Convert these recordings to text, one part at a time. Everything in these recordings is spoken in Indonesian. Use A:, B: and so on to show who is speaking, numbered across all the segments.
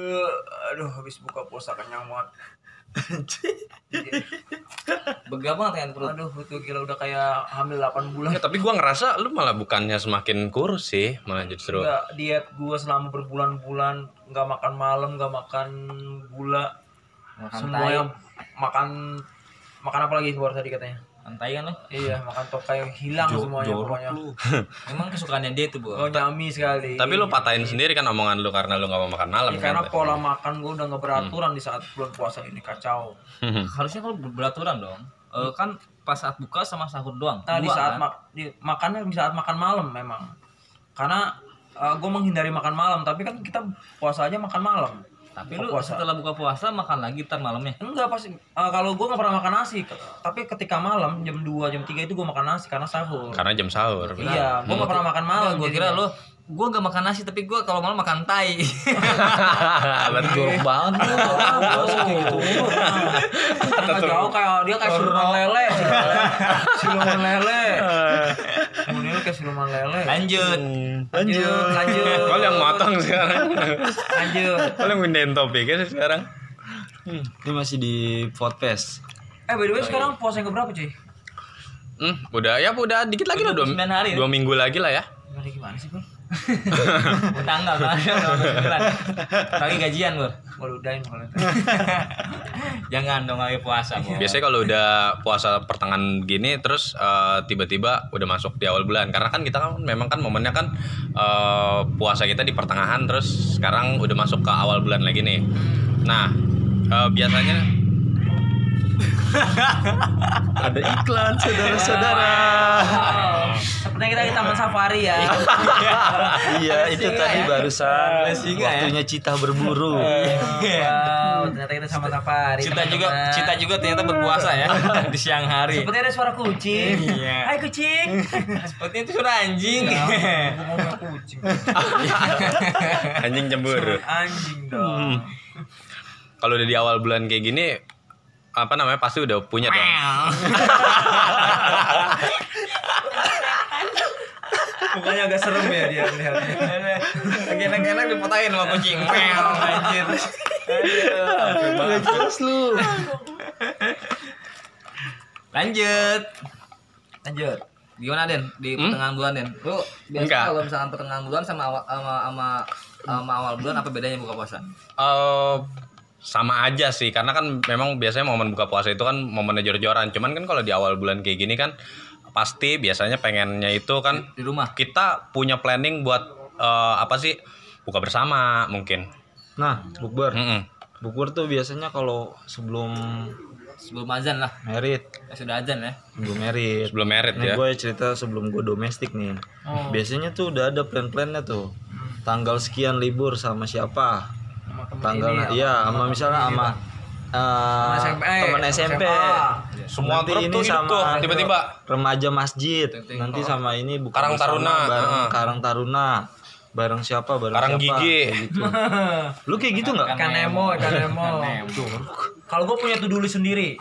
A: Eh, habis buka puasa kenyang banget Iya,
B: Begah banget kan perut.
A: aduh itu gila udah kayak hamil 8 bulan
C: Ya, tapi gua ngerasa lu malah bukannya semakin kurus sih, malah justru.
A: Enggak, diet gue selama berbulan-bulan nggak makan malam nggak makan gula
B: Makan tai.
A: semuanya makan makan apa lagi keluar tadi katanya
B: Makan tai kan lo.
A: iya makan tokai yang hilang semuanya pokoknya
B: Emang kesukaannya dia tuh, Bu.
D: Oh,
A: gue nyami sekali
C: Tapi lu patahin sendiri kan omongan lu karena lu nggak mau makan malam
A: Ya,
C: kan.
A: iya. karena pola makan gue udah nggak beraturan di saat bulan puasa ini kacau
B: Harusnya kalau ber- beraturan dong. Eh, kan pas saat buka sama sahur doang.
A: Nah, di
B: Dua,
A: saat
B: kan?
A: mak- di- makannya di saat makan malam memang. Karena gue menghindari makan malam, tapi kan kita puasa aja makan malam.
B: Tapi
A: Buka
B: lu
A: puasa.
B: setelah buka puasa makan lagi ntar malamnya.
A: Enggak pasti. eh, kalau gue nggak pernah makan nasi, Ke- tapi ketika malam jam 2, jam 3 itu gue makan nasi karena sahur.
C: Karena jam sahur.
A: iya, gue nggak pernah makan malam.
B: Malah Hmm. gua
D: Iya.
B: kira lo gua gak makan nasi tapi gua kalau malam makan tai.
C: Ah,
D: Ah, jorok banget gitu, lu.
A: Oh.
B: Gitu.
A: Nggak jauh kayak dia kayak siluman lele, siluman lele. siluman lele. Kemudian kayak siluman lele.
B: Lanjut.
A: Lanjut, lanjut,
C: Kalau yang matang sekarang.
A: lanjut.
C: Kalau yang pindahin topiknya sih sekarang.
D: Hmm. Ini masih di podcast.
A: Eh by the way sekarang puasa yang keberapa cuy?
C: Hmm, udah ya udah dikit lagi lah dua,
B: Sembilan hari.
C: dua minggu lagi lah ya.
A: Gimana gimana sih bro?
B: Tanggal tanggal Lagi gajian, Bur.
A: Waduh udahin kalau itu.
B: Jangan dong lagi puasa, Bu.
C: Biasanya kalau udah puasa pertengahan gini terus eh, tiba-tiba udah masuk di awal bulan karena kan kita kan memang kan momennya kan eh, puasa kita di pertengahan terus sekarang udah masuk ke awal bulan lagi nih. Nah, eh, biasanya
D: Ada iklan saudara-saudara.
A: Oh, sepertinya kita di taman safari ya.
D: iya, itu tadi barusan.
B: singa ya.
D: Waktunya cita berburu.
A: wow, ternyata kita sama safari.
B: Cita juga
A: teman-teman.
B: cita juga ternyata berpuasa ya di siang hari.
A: Sepertinya ada suara kucing.
B: Iya.
A: Hai kucing.
B: Sepertinya itu suara anjing.
A: Gua ngomong kucing.
B: Iya.
C: anjing cemburu.
A: Anjing
B: Hmm.
A: dong.
C: Kalau udah di awal bulan kayak gini apa namanya pasti udah punya dong.
A: Mukanya agak serem ya dia melihatnya.
B: Lagi enak-enak dipatahin sama kucing. Meow, anjir.
D: Gak jelas lu.
B: Lanjut.
A: Lanjut.
B: Gimana Den di
C: Hmm?
B: pertengahan bulan Den? Lu biasa
C: Enggak.
B: kalau misalkan pertengahan bulan sama awal sama sama, sama awal bulan apa bedanya buka puasa?
C: Eh, sama aja sih karena kan memang biasanya momen buka puasa itu kan momennya jor-joran cuman kan kalau di awal bulan kayak gini kan pasti biasanya pengennya itu kan
B: Di rumah.
C: kita punya planning buat eh, apa sih buka bersama mungkin
D: Nah, bukber.
C: Mm-mm.
D: Bukber tuh biasanya kalau sebelum
B: Sebelum azan lah.
D: merit,
B: Eh, sudah azan ya.
D: sebelum merit.
C: sebelum merit
D: Ini
C: ya
D: gue cerita sebelum gue domestik nih. Biasanya tuh udah ada plan-plannya tuh. Tanggal sekian libur sama siapa?
A: Sama temen ini,
D: Tanggal iya sama misalnya sama eh,
A: SMP,
D: teman SMP.
A: SMA.
C: Semua grup tuh hidup tuh, tiba-tiba.
D: remaja masjid. Nanti sama ini bukan
C: Karang Taruna,
D: bareng
C: heeh.
D: Karang Taruna. Bareng siapa? Bareng
C: Karang
D: siapa?
C: gigi.
D: Kayak gitu. Lu kayak gitu nggak?
A: Ikan Nemo, ikan Nemo. Kalau gue punya to-do list sendiri,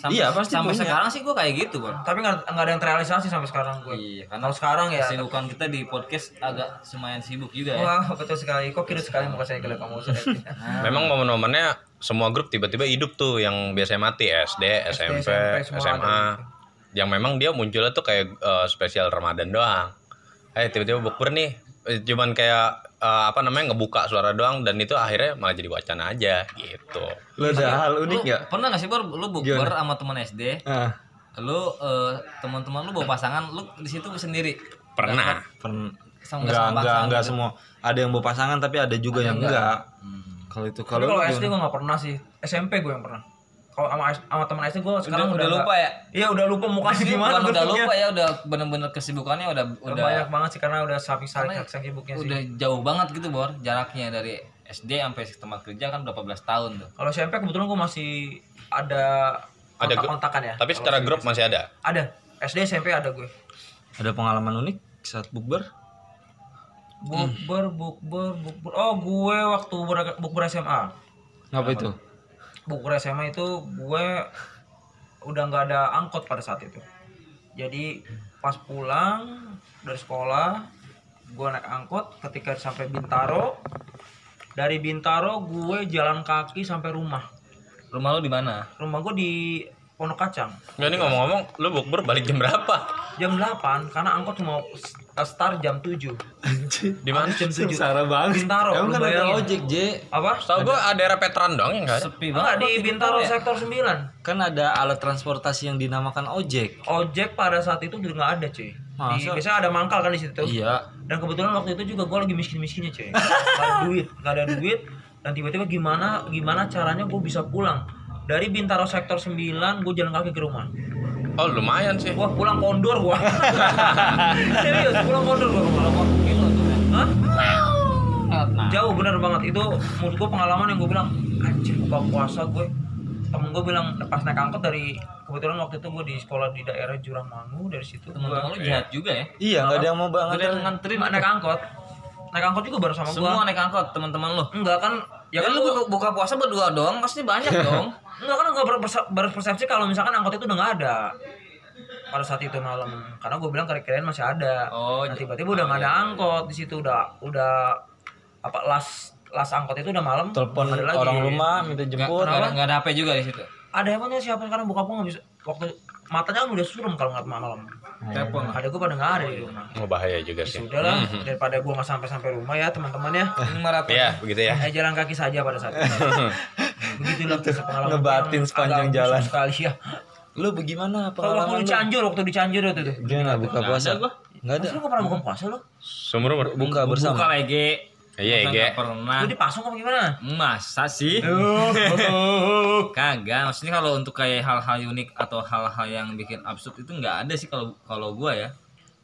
B: Sampai,
D: Iya, pasti
B: sampai
D: punya.
B: sekarang sih gua kayak gitu, Bang.
A: tapi nggak nggak ada yang terrealisasi sampai sekarang gue.
B: Iya, karena
A: Kalau sekarang ya,
B: kesibukan kita di podcast agak semayan sibuk juga ya.
A: wah betul sekali. Kok kira sekali muka saya kelihatan kamu saya.
C: memang momen-momennya semua grup tiba-tiba hidup tuh yang biasanya mati SD, SMP,
A: SMP, semua ada
C: SMA
D: gitu.
C: yang memang dia munculnya tuh kayak eh, spesial Ramadan doang eh tiba-tiba bukber nih Eh, cuman kayak eh, apa namanya ngebuka suara doang dan itu akhirnya malah jadi wacana aja gitu
D: Lu ada hal
A: Oh.
B: Lu
D: unik nggak?
B: Pernah gak sih Bor, lu bukber sama teman SD?
D: Ah,
B: Lu eh, teman-teman lu bawa pasangan, lu di situ sendiri.
C: pernah
D: pern-
B: Sama
D: Enggak, enggak, enggak semua. Ada yang bawa pasangan tapi gitu. ada juga yang enggak.
B: Hmm.
D: Kalau itu
A: Tapi
D: kalau
A: kalau
D: lu
A: SD gue gak pernah sih. SMP gue yang pernah. Kalau sama sama teman SD gue sekarang udah,
B: Udah, udah
A: nggak-
B: lupa ya.
A: Iya udah lupa mukanya
B: Ini
A: gimana
B: bukan udah
A: bentuknya.
B: lupa ya, udah bener-bener kesibukannya udah udah
A: banyak banget sih karena udah sapi saling
B: Karena
A: saking sibuknya sih.
B: udah jauh banget gitu Bor, jaraknya dari SD sampai tempat kerja kan udah 14 tahun tuh.
A: Kalau SMP kebetulan gue masih ada
C: Ada
A: kontak kontakan ya.
C: tapi secara grup masih ada
A: Ada. SD SMP ada gue.
D: ada pengalaman unik saat bukber?
A: Bukber, bukber, bukber. Oh gue waktu ber- bukber SMA.
D: Apa itu?
A: Bukber SMA itu gue udah nggak ada angkot pada saat itu. Jadi pas pulang dari sekolah gue naik angkot ketika sampai Bintaro Dari Bintaro gue jalan kaki sampai rumah.
B: Rumah lu di mana?
A: Rumah gue di Pondok Kacang.
C: Nggak nih ngomong-ngomong, lu bukber balik jam berapa?
A: Jam 8 karena angkot cuma start jam 7.
C: Di mana?
A: Jam 7.
D: Sengsara banget.
A: Bintaro,
D: Emang
A: lu
D: kan ada
A: bayangin.
D: ojek, J.
A: Apa?
C: Tahu gua ada daerah Petran doang ya enggak?
B: Sepi
A: Enggak
B: banget.
A: di Bintaro
D: ya?
A: sektor 9.
D: Kan ada alat transportasi yang dinamakan ojek.
A: Ojek pada saat itu juga nggak ada, cuy. Di,
D: Masa?
A: biasanya ada mangkal kan di situ.
D: Iya.
A: Dan kebetulan waktu itu juga gue lagi miskin-miskinnya cuy Gak ada duit, gak ada duit Dan tiba-tiba gimana gimana caranya gue bisa pulang Dari Bintaro Sektor 9 gue jalan kaki ke rumah
C: Oh, lumayan sih.
A: Wah pulang kondor gue Serius pulang kondor gue Pulang kondor gitu tuh Hah? Jauh bener banget Itu menurut gue pengalaman yang gue bilang Anjir buka puasa gue Temen gue bilang pas naik angkot dari Kebetulan waktu itu gue di sekolah di daerah Jurangmangu Dari situ
B: Temen-temen
A: gue
B: lu jahat juga ya.
D: Iya, nggak ada yang mau
B: Ada yang
D: banget.
B: nganterin
A: naik angkot Naik angkot juga baru sama gue
B: semua naik angkot teman-teman lu.
A: Enggak kan
B: Ya kan lu buka, buka puasa berdua doang, pasti banyak dong.
A: Enggak kan gue berpersepsi kalau misalkan angkot itu udah nggak ada pada saat itu malam karena gue bilang kira-kirain masih ada
B: Oh,
A: nah,
B: j-
A: tiba-tiba udah nggak ada angkot di situ udah udah apa las las angkot itu udah malam
D: Telepon
A: nggak ada lagi.
D: orang rumah minta jemput.
B: Nggak ada, nggak ada HP juga di situ.
A: ada emangnya siapa karena buka pun nggak bisa waktu matanya kan udah suram kalau nggak malam
B: Telepon.
A: ada gue pada nggak ada di rumah
C: Oh, bahaya juga
A: ya
C: sih.
A: sudah lah
D: Mhm.
A: daripada gue nggak sampai sampai rumah ya teman-teman ya
B: Ini maraton.
C: Iya, begitu ya.
A: saya Eh, jalan kaki saja pada saat itu begitulah kisah pengalaman
D: ngebatin
A: yang
D: sepanjang
A: agak
D: jalan.
A: busuk sekali ya
D: Lu
A: Kalau
D: bagaimana
A: waktu
D: pengalaman
A: di
D: lu?
A: Cianjur, waktu di Cianjur waktu itu.
D: Gimana buka puasa? Enggak ada.
A: Masa lu gak pernah buka puasa lu?
C: Sumur ber-
D: Buka
B: Buka
D: bersama.
B: lagi. Masa
C: Iya, Ege.
B: nggak Pernah.
D: Nah.
A: Lu di Pasung apa gimana?
B: Masa sih? Kagak, maksudnya kalau untuk kayak hal-hal unik atau hal-hal yang bikin absurd itu nggak ada sih kalau kalau gua ya.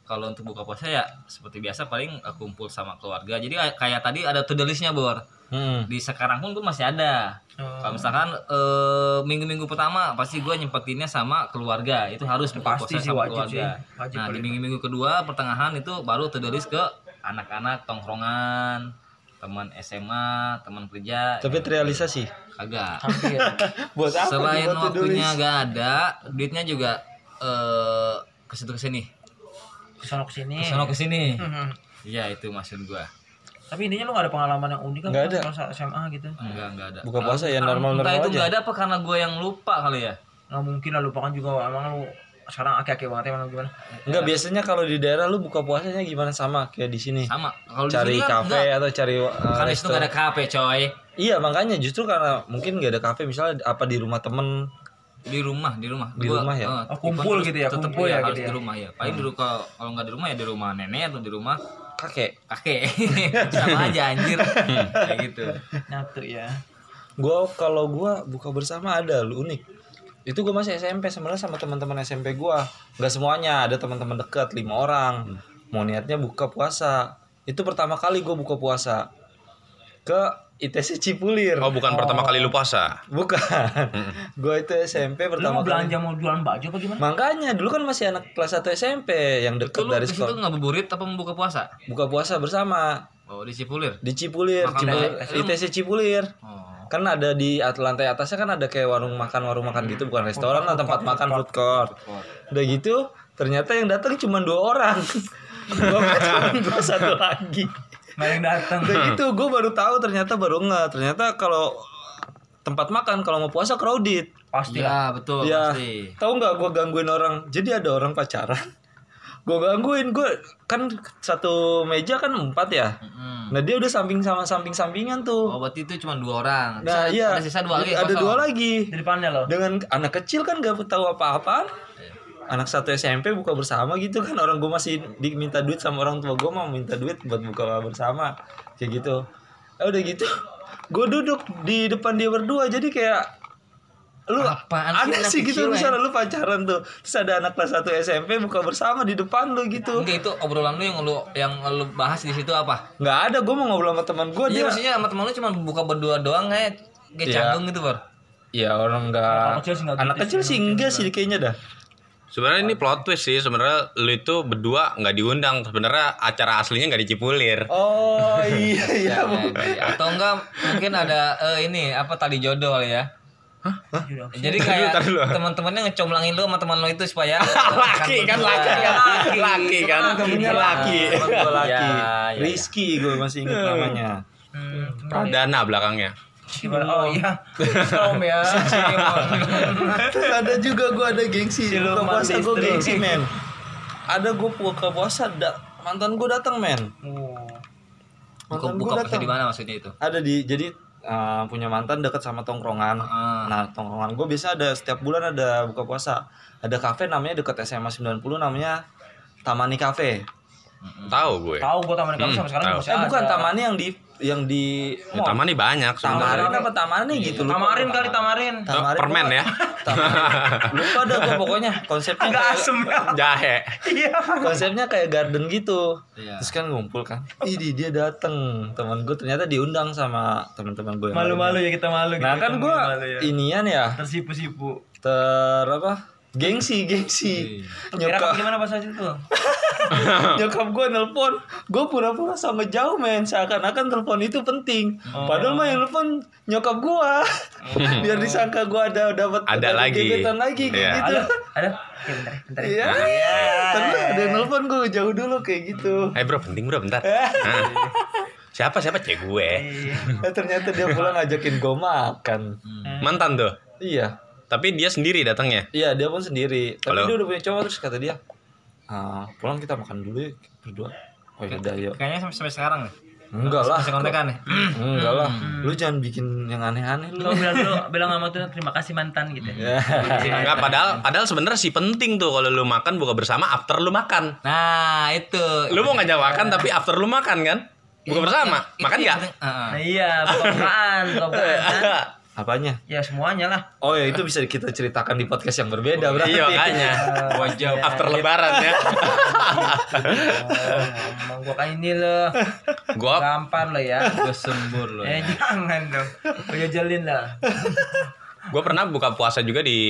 B: Kalau untuk buka puasa ya seperti biasa paling eh, kumpul sama keluarga. Jadi kayak, kayak tadi ada to do listnya Bor.
D: Hmm.
B: Di sekarang pun gue masih ada.
A: Oh.
B: Kalau misalkan eh, minggu-minggu pertama pasti gua nyempetinnya sama keluarga. Itu harus buka
A: Pasti sih,
B: puasa sama
A: wajib
B: keluarga.
A: sih. Wajib
B: nah,
A: kalau
B: di
A: itu.
B: minggu-minggu kedua pertengahan itu baru to do list ke anak-anak tongkrongan, teman SMA, teman kerja. ya.
D: Tapi terrealisasi.
B: Kagak.
A: Oh, Hampir.
D: Buat apa?
B: Selain
D: Buat to-do
B: waktunya
D: list?
B: gak ada, duitnya juga eh kesitu kesini,
A: Kesana kesini.
B: kesana kesini.
A: Mhm.
B: Iya itu maksud gua.
A: Tapi intinya lu gak ada pengalaman yang unik kan?
D: Nggak ada.
A: Masa SMA gitu.
B: Enggak enggak ada.
D: Buka puasa ya
B: Entah-
D: normal-normal
B: entah itu
D: aja.
B: enggak ada apa karena gua yang lupa kali ya.
A: Gak mungkin lah lupakan juga. Emang lu sekarang aki-aki banget ya, emang lu gimana?
D: Enggak biasanya kalau di daerah lu buka puasanya gimana sama kayak di sini.
B: Sama. Kalau di
D: Cari
B: sini kan
D: kafe
B: enggak.
D: atau cari uh,
B: Kan di situ
D: resto.
B: enggak ada kafe, coy.
D: Iya makanya justru karena mungkin nggak ada kafe misalnya apa di rumah temen
B: Di rumah, di rumah.
D: Di rumah ya?
B: eh,
A: Oh, kumpul
B: tetep-
A: gitu ya,
B: tetep
A: kumpul ya
B: iya, harus
A: gitu ya.
B: di rumah ya.
D: Hmm.
B: Paling di ru- kalau kalau enggak di rumah ya di rumah nenek atau di rumah
D: kakek.
B: kakek. Sama aja anjir. Kayak gitu.
A: Nyatu ya.
D: Gua kalau gua buka bersama ada lu unik. Itu gua masih SMP sebenarnya sama teman-teman SMP gua. Nggak semuanya ada teman-teman dekat lima orang. Mau niatnya buka puasa. Itu pertama kali gua buka puasa ke ITC Cipulir.
C: Oh, bukan pertama kali lu puasa.
D: Bukan. Gua itu SMP
A: Lu mau
D: pertama kali.
A: belanja mau jualan baju apa gimana?
D: Makanya dulu kan masih anak kelas 1 SMP yang
B: Itu
D: dekat
B: lu
D: dari
B: di situ
D: sekolah.
B: ngabuburit apa membuka puasa?
D: Buka puasa bersama
B: Oh, di Cipulir.
D: di Cipulir,
B: Makan
D: Cipulir
B: apa?
D: ITC Cipulir.
B: Oh.
D: Kan ada di at- lantai atasnya kan ada kayak warung makan, warung makan gitu bukan restoran lah tempat makan food court. Udah gitu ternyata yang datang cuma dua orang. Gua kan cuma gua satu lagi.
A: Gak ada yang dateng.
D: Udah gitu gue baru tahu ternyata baru nggak ternyata kalau tempat makan kalau mau puasa crowded.
A: Pasti lah.
B: Iya, betul
D: Ya,
B: pasti.
D: tahu nggak gue gangguin orang? Jadi ada orang pacaran, gue gangguin gue kan satu meja kan empat ya.
B: Mm.
D: Nah dia udah samping sama samping
B: Oh,
D: sampingan tuh.
B: berarti itu cuma dua orang. Terus
D: Nah
B: Oh, ada,
D: iya.
B: ada sisa dua lagi.
D: Ada
B: kosong.
D: dua lagi.
A: Di depannya lo.
D: Dengan anak kecil kan gak tahu apa-apa. Anak satu SMP buka bersama gitu kan orang gue masih diminta duit sama orang tua gue mau minta duit buat buka bersama kayak gitu. Eh, udah gitu, gue duduk di depan dia berdua jadi kayak lu
B: Apaan sih
D: aneh
B: anak
D: sih gitu
B: kecil,
D: misalnya lu pacaran tuh terus ada anak kelas 1 SMP buka bersama di depan lu gitu
B: Enggak itu obrolan lu yang lu yang lu bahas di situ apa?
D: nggak ada gue mau ngobrol sama teman gue
B: Iya,
D: Oh, dia
B: maksudnya sama teman lu cuma buka berdua doang kayak kayak
D: Iya.
B: canggung gitu, Bor.
D: ya orang
A: Anak
D: nggak
A: kecil sih nggak
D: anak
A: gitu
D: kecil sih enggak sih kayaknya dah
C: Sebenarnya ini plot twist sih. Sebenarnya lu itu berdua nggak diundang. Sebenarnya acara aslinya nggak di Cipulir.
D: oh iya iya
B: Nah, iya. Atau enggak mungkin ada eh, ini apa tadi jodoh kali ya.
A: Jodoh.
B: Jadi kayak teman-temannya ngecomblangin lu sama teman lu itu supaya laki kan laki
C: Iya,
B: Iya,
C: laki, laki kan.
D: temennya laki
B: Temen gua laki.
D: laki
B: Iya, iya, iya.
D: Rizky gue masih ingat namanya
A: Hmm, kenal ya.
C: Pradana belakangnya.
A: Gimana? Oh iya. Om ya.
D: Terus ada juga gue ada gengsi
A: Siluman
D: Buka puasa gue
A: listrik.
D: gengsi men Ada gue buka puasa da- Mantan gue datang men
A: Oh.
B: buka
D: Mantan
B: buka
D: gue
B: puasa
D: datang
B: di mana maksudnya itu
D: Ada di Jadi eh, punya mantan dekat sama tongkrongan
B: Ah.
D: Nah tongkrongan gue biasa ada Setiap bulan ada buka puasa Ada kafe namanya dekat SMA 90 namanya Tamani Cafe
C: Tahu gue.
A: Tahu gua taman kamu
C: Hmm,
A: sampai sekarang
C: tahu.
A: masih
D: Eh bukan
A: ada.
D: Tamani yang di Yang di
C: Ya, Taman nih banyak sebenarnya.
D: Tamarin apa Tamani gitu lupa.
A: Tamarin kali tamarin.
D: Tamarin
C: Permen
D: gua-
C: ya?
D: Tamarin. Lupa dah gue pokoknya konsepnya
A: Agak
D: kayak-
A: asem ya.
C: Jahe.
A: Iya.
D: konsepnya kayak garden gitu
B: Iya.
D: terus kan ngumpul kan ini dia dateng teman gue ternyata diundang sama teman-teman gue yang
A: Malu-malu ya kita malu.
D: lainnya. nah
A: gitu,
D: kan
A: kita
D: gue
A: malu ya.
D: inian ya
A: tersipu-sipu.
D: ter apa gengsi
C: Iya.
D: gengsi
A: Kira apa
D: nyokap
A: gimana bahasa itu?
D: nyokap gue nelpon gue pura-pura sama jauh men seakan-akan telepon itu penting
C: Oh.
D: padahal mah yang nelpon nyokap gue biar disangka gue ada dapat
C: Ada lagi.
D: gebetan lagi kayak
C: Iya.
D: gitu
A: Ada, ada. Ya, bentar, bentar.
D: Iya, terus ada yang nelpon gue jauh dulu kayak gitu.
C: Eh bro, penting bro, bentar. Nah. Siapa siapa cek gue.
A: Iya.
D: Eh ternyata dia pulang ngajakin gue makan.
C: Mantan tuh.
D: Iya.
C: Tapi dia sendiri datangnya.
D: Iya, dia pun sendiri. Tapi
C: Halo.
D: dia udah punya cowok terus kata dia, "Ah, pulang kita makan dulu ya berdua." Oh ya udah yuk.
B: kayaknya sampai, sampai sekarang nih
D: Enggak lah.
B: masih kontekan nih Hmm.
D: Enggak lah. Lu jangan bikin yang aneh-aneh lu.
A: Lu bilang dulu, bilang sama tuh terima kasih mantan gitu.
D: Ya.
C: Iya.
A: Iya.
C: Enggak, padahal padahal sebenarnya sih penting tuh kalau lu makan buka bersama after lu makan.
B: nah itu
C: Lu mau ngajak makan tapi after lu makan kan? Buka bersama.
B: Iya, Itu
C: Makan ya?
B: yang ah,
C: enggak?
B: penting. Heeh.
A: Nah, iya, bukan bukan.
D: Apanya?
A: Ya semuanya lah.
D: Oh ya itu bisa kita ceritakan di podcast yang berbeda berarti.
C: Iya makanya.
B: Wajah
C: After lebaran ya.
A: Oh, ngomong gua kan ini loh.
C: Gua
A: Gampar lo ya.
B: gue sembur loh
A: Eh jangan dong. Udah jalin lah.
C: Gue pernah buka puasa juga di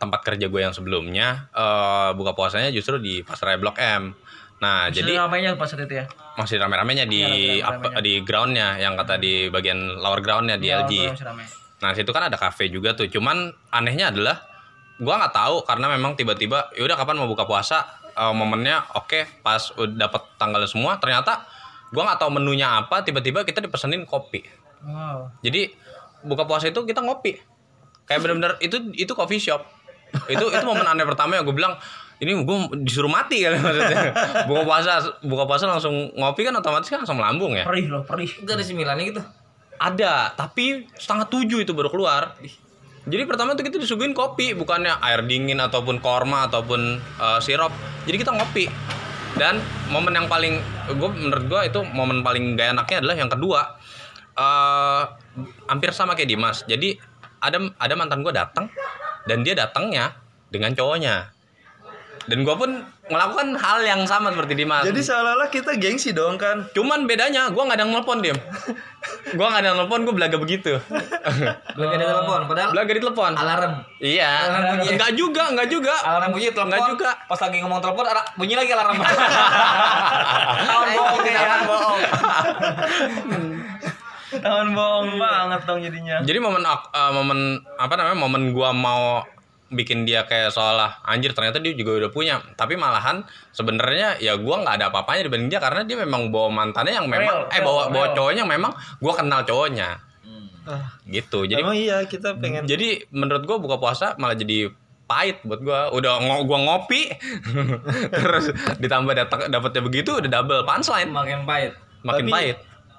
C: tempat kerja gue yang sebelumnya. Eh, buka puasanya justru di Pasaraya Blok M. Nah,
A: Jadi
C: jadi
A: ramainya pas saat itu ya.
C: masih rame-ramenya di
A: Iya, rame-ramenya.
C: apa- di groundnya yang kata di bagian lower groundnya di LG.
A: Iya, masih ramai.
C: Nah, situ kan ada cafe juga tuh. Cuman anehnya adalah gua nggak tahu karena memang tiba-tiba yaudah kapan mau buka puasa Eh, momennya oke pas ud- dapet tanggal semua ternyata gua nggak tahu menunya apa tiba-tiba kita dipesenin kopi.
A: Wow.
C: Jadi buka puasa itu kita ngopi. Kayak bener-bener itu itu coffee shop. itu itu momen aneh pertama yang gue bilang ini gue disuruh mati kali maksudnya. Buka puasa buka puasa langsung ngopi kan otomatis kan langsung melambung ya.
A: Perih loh, perih.
B: gak ada sembilannya gitu
C: Ada, tapi setengah tujuh itu baru keluar. Jadi pertama tuh kita disuguhin kopi, bukannya air dingin ataupun korma ataupun eh, sirup. Jadi kita ngopi. Dan momen yang paling gue menurut gue itu momen paling gak enaknya adalah yang kedua. eh hampir sama kayak Dimas. Jadi ada ada mantan gue datang dan dia datangnya dengan cowoknya. Dan gue pun melakukan hal yang sama seperti Dimas.
D: Jadi seolah-olah kita gengsi dong kan.
C: Cuman bedanya gua nggak ada yang nelpon, Dim. gua nggak ada yang nelpon, gua belaga begitu.
B: gue gak ada telepon padahal
C: belaga di telepon.
B: alarm
C: Iya. Enggak juga, enggak juga.
B: alarm bunyi telepon
C: Enggak juga.
B: pas lagi ngomong telepon ada bunyi lagi alarm
A: Tahun bohong ya. Tahun bohong. Tahun bohong banget dong jadinya.
C: Jadi momen ak- eh, momen apa namanya? Momen gua mau bikin dia kayak seolah anjir ternyata dia juga udah punya tapi malahan sebenarnya ya gua nggak ada apa-apanya dibanding dia karena dia memang bawa mantannya yang memang
A: Real,
C: eh
A: real,
C: bawa bawa
A: real.
C: cowoknya yang memang gua kenal cowoknya
D: Ah,
C: gitu jadi
D: Emang iya kita pengen
C: Hmm, Jadi menurut gua buka puasa malah jadi pahit buat gua. Udah ngo gua ngopi terus ditambah dat- dapatnya begitu udah double punchline
B: makin pahit
C: makin
D: Tapi-
C: pahit.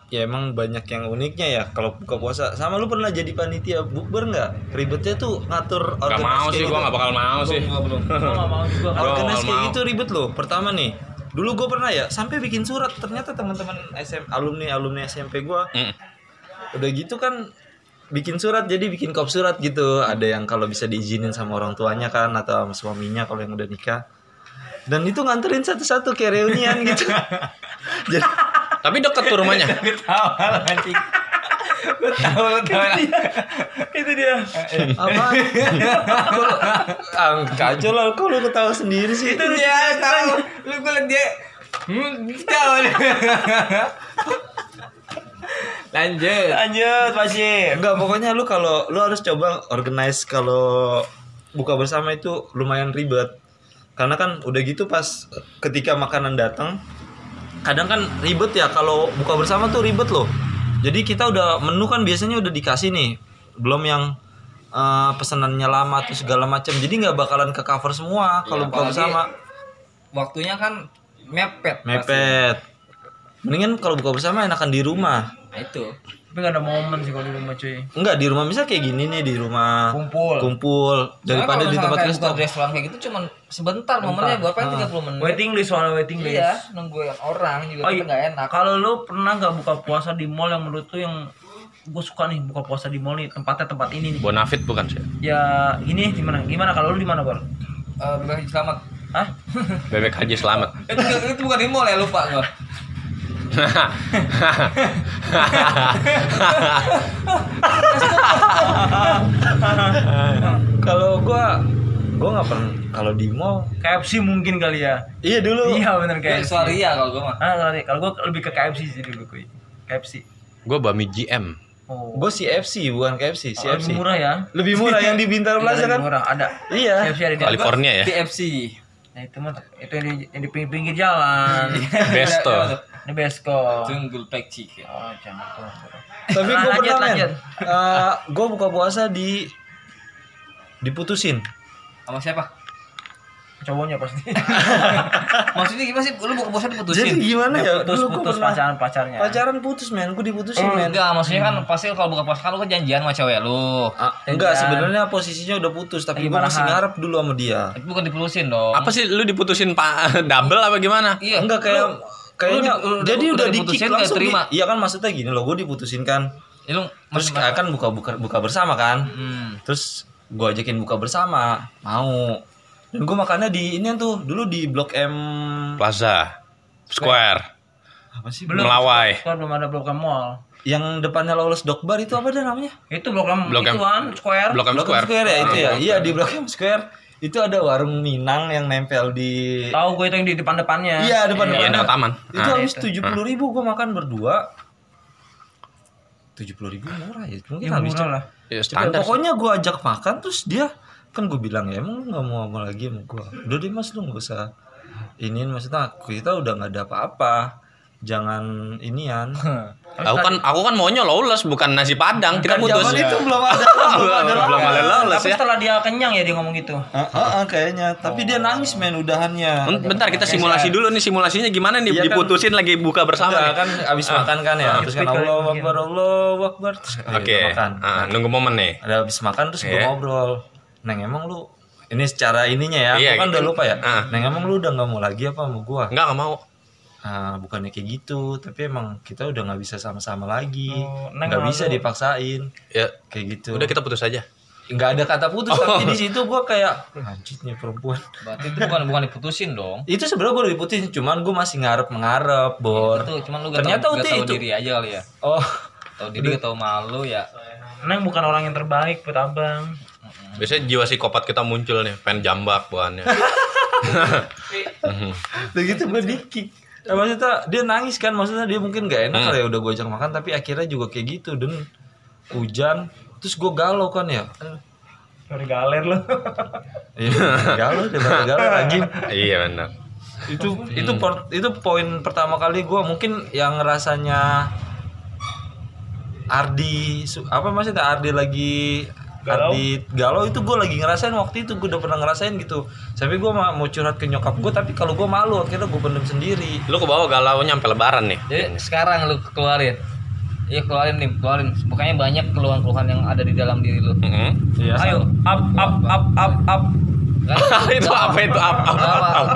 D: ya emang banyak yang uniknya ya kalau buka puasa sama lu pernah jadi panitia bukber nggak ribetnya tuh ngatur
C: Gak mau
D: kayak
C: sih
D: gitu.
C: gua gak bakal mau sih.
B: Gua belum
A: Gua gak mau juga kan.
C: Gua
D: organize
C: gak
D: kayak
C: mau.
D: gitu ribet loh pertama nih dulu gue pernah ya sampai bikin surat ternyata teman-teman SM alumni alumni SMP gua
C: Mm.
D: udah gitu kan bikin surat jadi bikin kop surat gitu ada yang kalau bisa diizinin sama orang tuanya kan atau sama suaminya kalau yang udah nikah dan itu nganterin satu-satu kayak reunian gitu jadi
C: Tapi deket tuh rumahnya.
B: gue tahu lah anjing gue tahu lu tahu lah.
A: Itu dia.
D: apa Kok- ah, kacau lah kok lu ketawa sendiri sih
B: itu dia sekarang Iya, lu gue liat dia hmm tahu nih. lanjut
A: Lanjut, Pasif.
D: Enggak, pokoknya lu kalau lu harus coba organize kalau buka bersama itu lumayan ribet. Karena kan udah gitu pas ketika makanan datang kadang kan ribet ya kalau buka bersama tuh ribet loh. Jadi kita udah menu kan biasanya udah dikasih nih, belum yang eh, pesanannya lama tuh segala macam. Jadi nggak bakalan ke cover semua kalau buka
B: apalagi-
D: bersama.
B: Waktunya kan mepet.
D: Mepet. Mendingan kalau buka bersama enakan di rumah.
B: Nah, itu.
A: Tapi gak ada momen sih kalau di rumah cuy.
D: Enggak di rumah bisa kayak gini nih di rumah
A: Kumpul.
D: kumpul daripada di tempat resto.
B: restoran. restoran kayak gitu cuman sebentar momennya buat paling 30 menit.
A: Waiting list soalnya waiting list.
B: Iya, nungguin orang juga
A: Oh,
B: itu
A: iya.
B: nggak enak.
A: Kalau lu pernah nggak buka puasa di mall yang menurut lu yang gue suka nih buka puasa di mall nih tempatnya tempat ini nih.
C: Bonafit bukan sih?
A: Ya ini gimana? Gimana kalau lu di mana bar?
B: Eh, bebas selamat.
A: Hah?
C: Bebek Haji selamat.
B: Eh, itu, itu bukan di mall ya lupa gua.
D: Kalau gua gua nggak pernah kalau di mall.
A: KFC mungkin kali ya.
D: Iya dulu.
A: Iya benar
B: Kayak
A: KFC.
B: suaria kalau gua mah.
A: Ah, sorry. Kalau gue lebih ke KFC sih dulu kuy. KFC.
C: Gue Bami GM.
A: Oh.
D: Gue CFC bukan KFC, CFC.
A: Lebih murah ya.
D: Lebih murah yang di Bintaro
A: Lebih
D: Plaza kan?
A: murah Iya, ada.
D: Iya.
A: KFC ada di atas.
C: California ya.
B: KFC.
A: Nah, itu mah itu yang di, yang di pinggir-pinggir jalan.
B: Iya.
C: Besto.
A: Ini besko.
B: Jungle Black Chicken.
A: Oh, jangan tuh.
D: Tapi
A: Nah,
D: gue
A: lanjut,
D: pernah
A: lanjut.
D: men. gue buka puasa di diputusin.
B: Sama siapa?
A: Cowoknya pasti.
B: Maksudnya gimana sih? Lu buka puasa
D: Jadi
B: diputusin?
D: gimana ya?
A: Terus
D: Dulu gua
A: putus
D: pernah-
A: pacaran Oh, pacarnya.
D: Pacaran putus men, gue diputusin men. Hmm.
B: Enggak, maksudnya kan pasti kalau buka puasa kan lu kan janjian sama cewek lu.
D: Ah, enggak
B: kan?
D: sebenarnya posisinya udah putus tapi gue masih ngarep dulu sama dia.
B: Tapi bukan diputusin dong.
C: Apa sih lu diputusin pak double apa gimana?
B: Iya.
D: enggak kayak kayaknya
B: lu- lu-
D: jadi
B: lu-
D: udah
B: udah
D: dikick
B: diputusin,
D: langsung
B: nggak terima?
D: di- iya kan maksudnya gini loh gue diputusin kan
B: Ya, lu
D: terus akan buka buka buka bersama kan
B: Hmm.
D: terus gue ajakin buka bersama mau dan gue makannya di ini tuh dulu di blok M
C: Plaza. Square.
D: apa sih
A: Belum.
C: Melawai.
A: Kalau Kan belum ada Blok M Mall.
D: yang depannya lolos dokbar itu apa dah namanya
A: Itu Blok M,
C: Blok M.
A: itu kan Square.
C: Blok M
D: blok M
C: Square.
D: Square ya itu ya
C: Ah,
D: iya di blok M Square itu ada warung Minang yang nempel di
A: Tahu gue itu yang di depan-depannya.
D: iya depan
C: Iya,
D: depannya
C: dekat taman.
D: Ah, itu habis tujuh puluh ribu gue makan berdua tujuh puluh ribu murah ya mungkin
A: Ya,
D: habis
A: murah lah.
C: Ya,
D: Tapi
C: standar.
D: pokoknya gue ajak makan terus dia kan gue bilang ya emang lu nggak mau sama lagi sama gue udah deh mas lu nggak usah ini maksudnya kita udah nggak ada apa-apa jangan inian
C: Aku kan aku kan maunya lawless bukan nasi padang. Kita putus.
D: zaman itu ya? belum ada belum ada
C: Belum ada lawless
A: Tapi
C: ya.
A: setelah dia kenyang ya dia ngomong gitu.
D: Ah, ah, ah, kayaknya tapi dia nangis men udahannya
C: Bentar kita simulasi dulu nih simulasinya gimana nih
D: Iya kan.
C: diputusin lagi buka
D: Udah,
C: bersama. nih.
D: kan abis makan kan ya terus kan
A: Speak kali
D: Allah
A: mungkin.
D: Akbar Allah Akbar Terus, oh, iya,
C: Oke.
D: udah makan
C: Ah, nunggu momen nih.
D: ada abis makan terus gue
C: Iya.
D: ngobrol neng emang lu ini secara ininya ya
C: Iya,
D: aku kan
C: gitu.
D: udah lupa ya
C: Ah.
D: neng emang lu udah nggak mau lagi apa sama gue
C: Enggak enggak mau.
D: Ah, bukannya kayak gitu tapi emang kita udah nggak bisa sama-sama lagi
A: Oh, Neng
D: nggak
A: malu.
D: bisa dipaksain
C: Ya
D: kayak gitu
C: udah Oh. kita putus aja.
D: nggak ada kata putus tapi di situ gue kayak lanjut nih perempuan
B: Berarti itu bukan bukan diputusin dong.
D: itu sebenarnya gue diputusin cuman gue masih ngarep mengarep
C: Iya,
D: bor
B: Itu cuman lu gak
D: Ternyata
B: tahu, gak
D: Uti
B: tahu
D: itu.
B: diri aja kali ya.
D: oh
B: Tahu diri gak tahu malu ya.
A: Neng bukan orang yang terbaik buat abang.
C: Biasanya jiwa psikopat kita muncul nih, pengen jambak bahannya.
D: begitu gue dikik Ya, maksudnya dia nangis kan maksudnya dia mungkin gak enak kali ya udah gue ajak makan tapi akhirnya juga kayak gitu dan hujan terus gue galau kan ya
A: Dari galer lo.
D: Iya, galau deh galau lagi
C: iya benar.
D: itu itu por- itu poin pertama kali gue mungkin yang rasanya Ardi su- apa maksudnya Ardi lagi
A: Galau?
D: Ardi galau itu gue lagi ngerasain waktu itu gue udah pernah ngerasain gitu sampai gue mau curhat ke nyokap gue tapi kalau gue malu akhirnya gue pendem sendiri
C: Lu ke bawah galau nyampe lebaran nih.
B: Jadi sekarang lu keluarin. Iya keluarin nih, keluarin. Pokoknya banyak keluhan-keluhan yang ada di dalam diri lu.
C: Mm-mm.
A: Ayo, up up up up up.
B: Kan?
C: itu apa itu apa? apa?
B: Gak apa.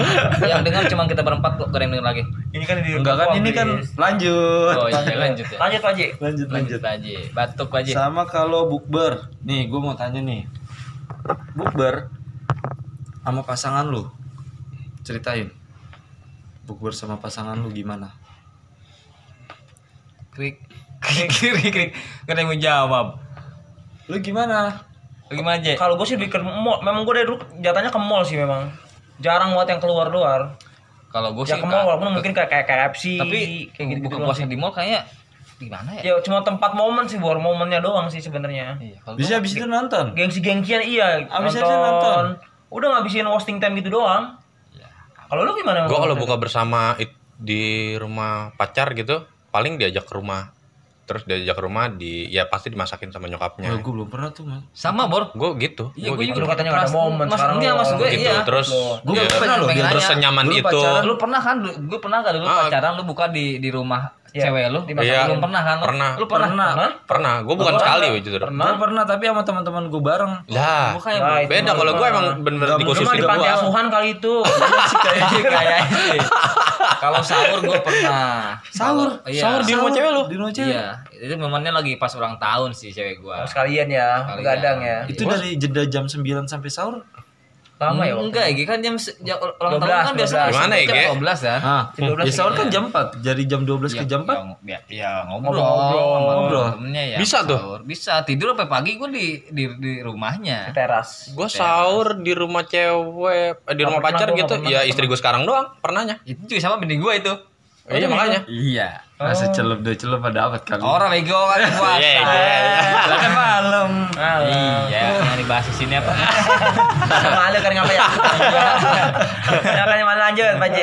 B: Yang dengar cuma kita berempat kok, gak ada yang denger lagi.
A: Ini kan di
D: enggak kan ini kan lanjut
B: Oh iya, lanjut ya.
A: Iya. Lanjut aja.
D: lanjut
B: Lanjut aja. Batuk aja.
D: sama kalau bukber nih gue mau tanya nih bukber sama pasangan lu ceritain bukber sama pasangan lu gimana
B: Krik. Krik, krik, krik. Gak ada yang mau jawab.
D: lu gimana
B: Lu gimana aja?
A: Kalau gue sih lebih ke mall, memang gue dari dulu jatanya ke mall sih memang. Jarang banget yang keluar luar.
B: Kalau gue Oh sih
A: Ya ke mall
B: Kak,
A: walaupun mungkin kayak kayak KFC
B: tapi
A: kayak gitu.
B: buka puasa di mall kayaknya gimana ya?
A: Ya cuma tempat momen sih, war momennya doang sih sebenarnya.
B: Iya, kalau
D: bisa abis itu nonton
A: Gengsi-gengsian iya,
D: Abis aja
A: nonton.
D: nonton.
A: Udah ngabisin wasting time gitu doang. Kalau lu gimana?
C: Gue kalau buka bersama it- di rumah pacar gitu, paling diajak ke rumah terus diajak ke rumah di ya pasti dimasakin sama nyokapnya.
D: gue Ya, belum pernah tuh mas
B: sama bor
C: Gue gitu.
B: iya
C: gua
B: gue
C: gitu.
B: juga
A: Lu katanya nggak ada
B: Mas-
A: momen,
B: mas
A: sekarang
B: enggak
A: lu
B: mas gue
A: gitu,
C: gitu
B: iya
C: terus
B: gue
C: ya,
B: pernah lu pengen
C: terus
B: nanya
C: senyaman
D: Lu
C: itu
D: pacaran,
B: lu pernah kan gue pernah gak dulu
C: Ah.
B: pacaran lu buka di di rumah
A: Iya.
B: cewek lu
A: Di
B: di
A: masa
C: Iya.
B: lu pernah kan
C: Pernah.
B: lu pernah,
A: Pernah.
C: pernah gue bukan sekali woy, jujur
D: pernah pernah tapi sama teman-teman gue bareng
C: lah
B: bukan ya
A: Nah, itu
C: beda
A: mah
C: kalau gue
A: pernah.
C: emang gitu bener-bener
D: Nggak
A: Lu
D: Khusus
A: mah
C: dikhususin
A: di
C: ke
A: panti
C: gue
A: asuhan kali itu.
B: kayaknya kayaknya Iya, kalau sahur gue pernah
D: Sahur?
B: Kalau- iya.
C: Sahur di rumah cewek lu
D: di rumah cewek
B: iya itu momennya lagi pas ulang tahun sih cewek gue
C: Oh,
A: Harus kalian ya,
B: Sekalian.
A: begadang ya.
D: itu dari jeda jam 9 sampai sahur
A: Lama ya. waktu
B: enggak ya kan jam, se- jam ulang
A: 12,
B: tahun kan biasa
A: 12.
C: Gimana ya,
B: jam 12
C: Ge?
B: ya
D: ah
A: belas
D: ya sahur kan jam 4 dari jam 12 ke jam 4
B: ya, ya ngobrol
A: Ngobrol.
B: sama
D: Ngobrol.
B: temennya ya
C: Oh, Bisa tuh.
B: sahur. bisa tidur sampai pagi gue di, di di
A: Di
B: rumahnya
A: teras.
C: gue sahur di rumah cewek eh, di rumah
A: pernah,
C: pacar
A: gua nggak
C: gitu
A: pernah,
C: ya
A: nggak
C: istri gue sekarang doang pernahnya
B: itu juga sama bini gue itu
C: iya makanya
B: Oh, iya
D: masa celep dua celep pada dapat kali
B: orang bego kan puasa
C: Iya, iya,
B: Lah kan malam iya jangan dibahas di sini apa
A: Malu kan ngapain ya? Ya kan malu lanjut, Pak J.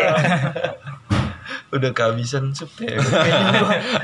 D: udah kehabisan sup ya.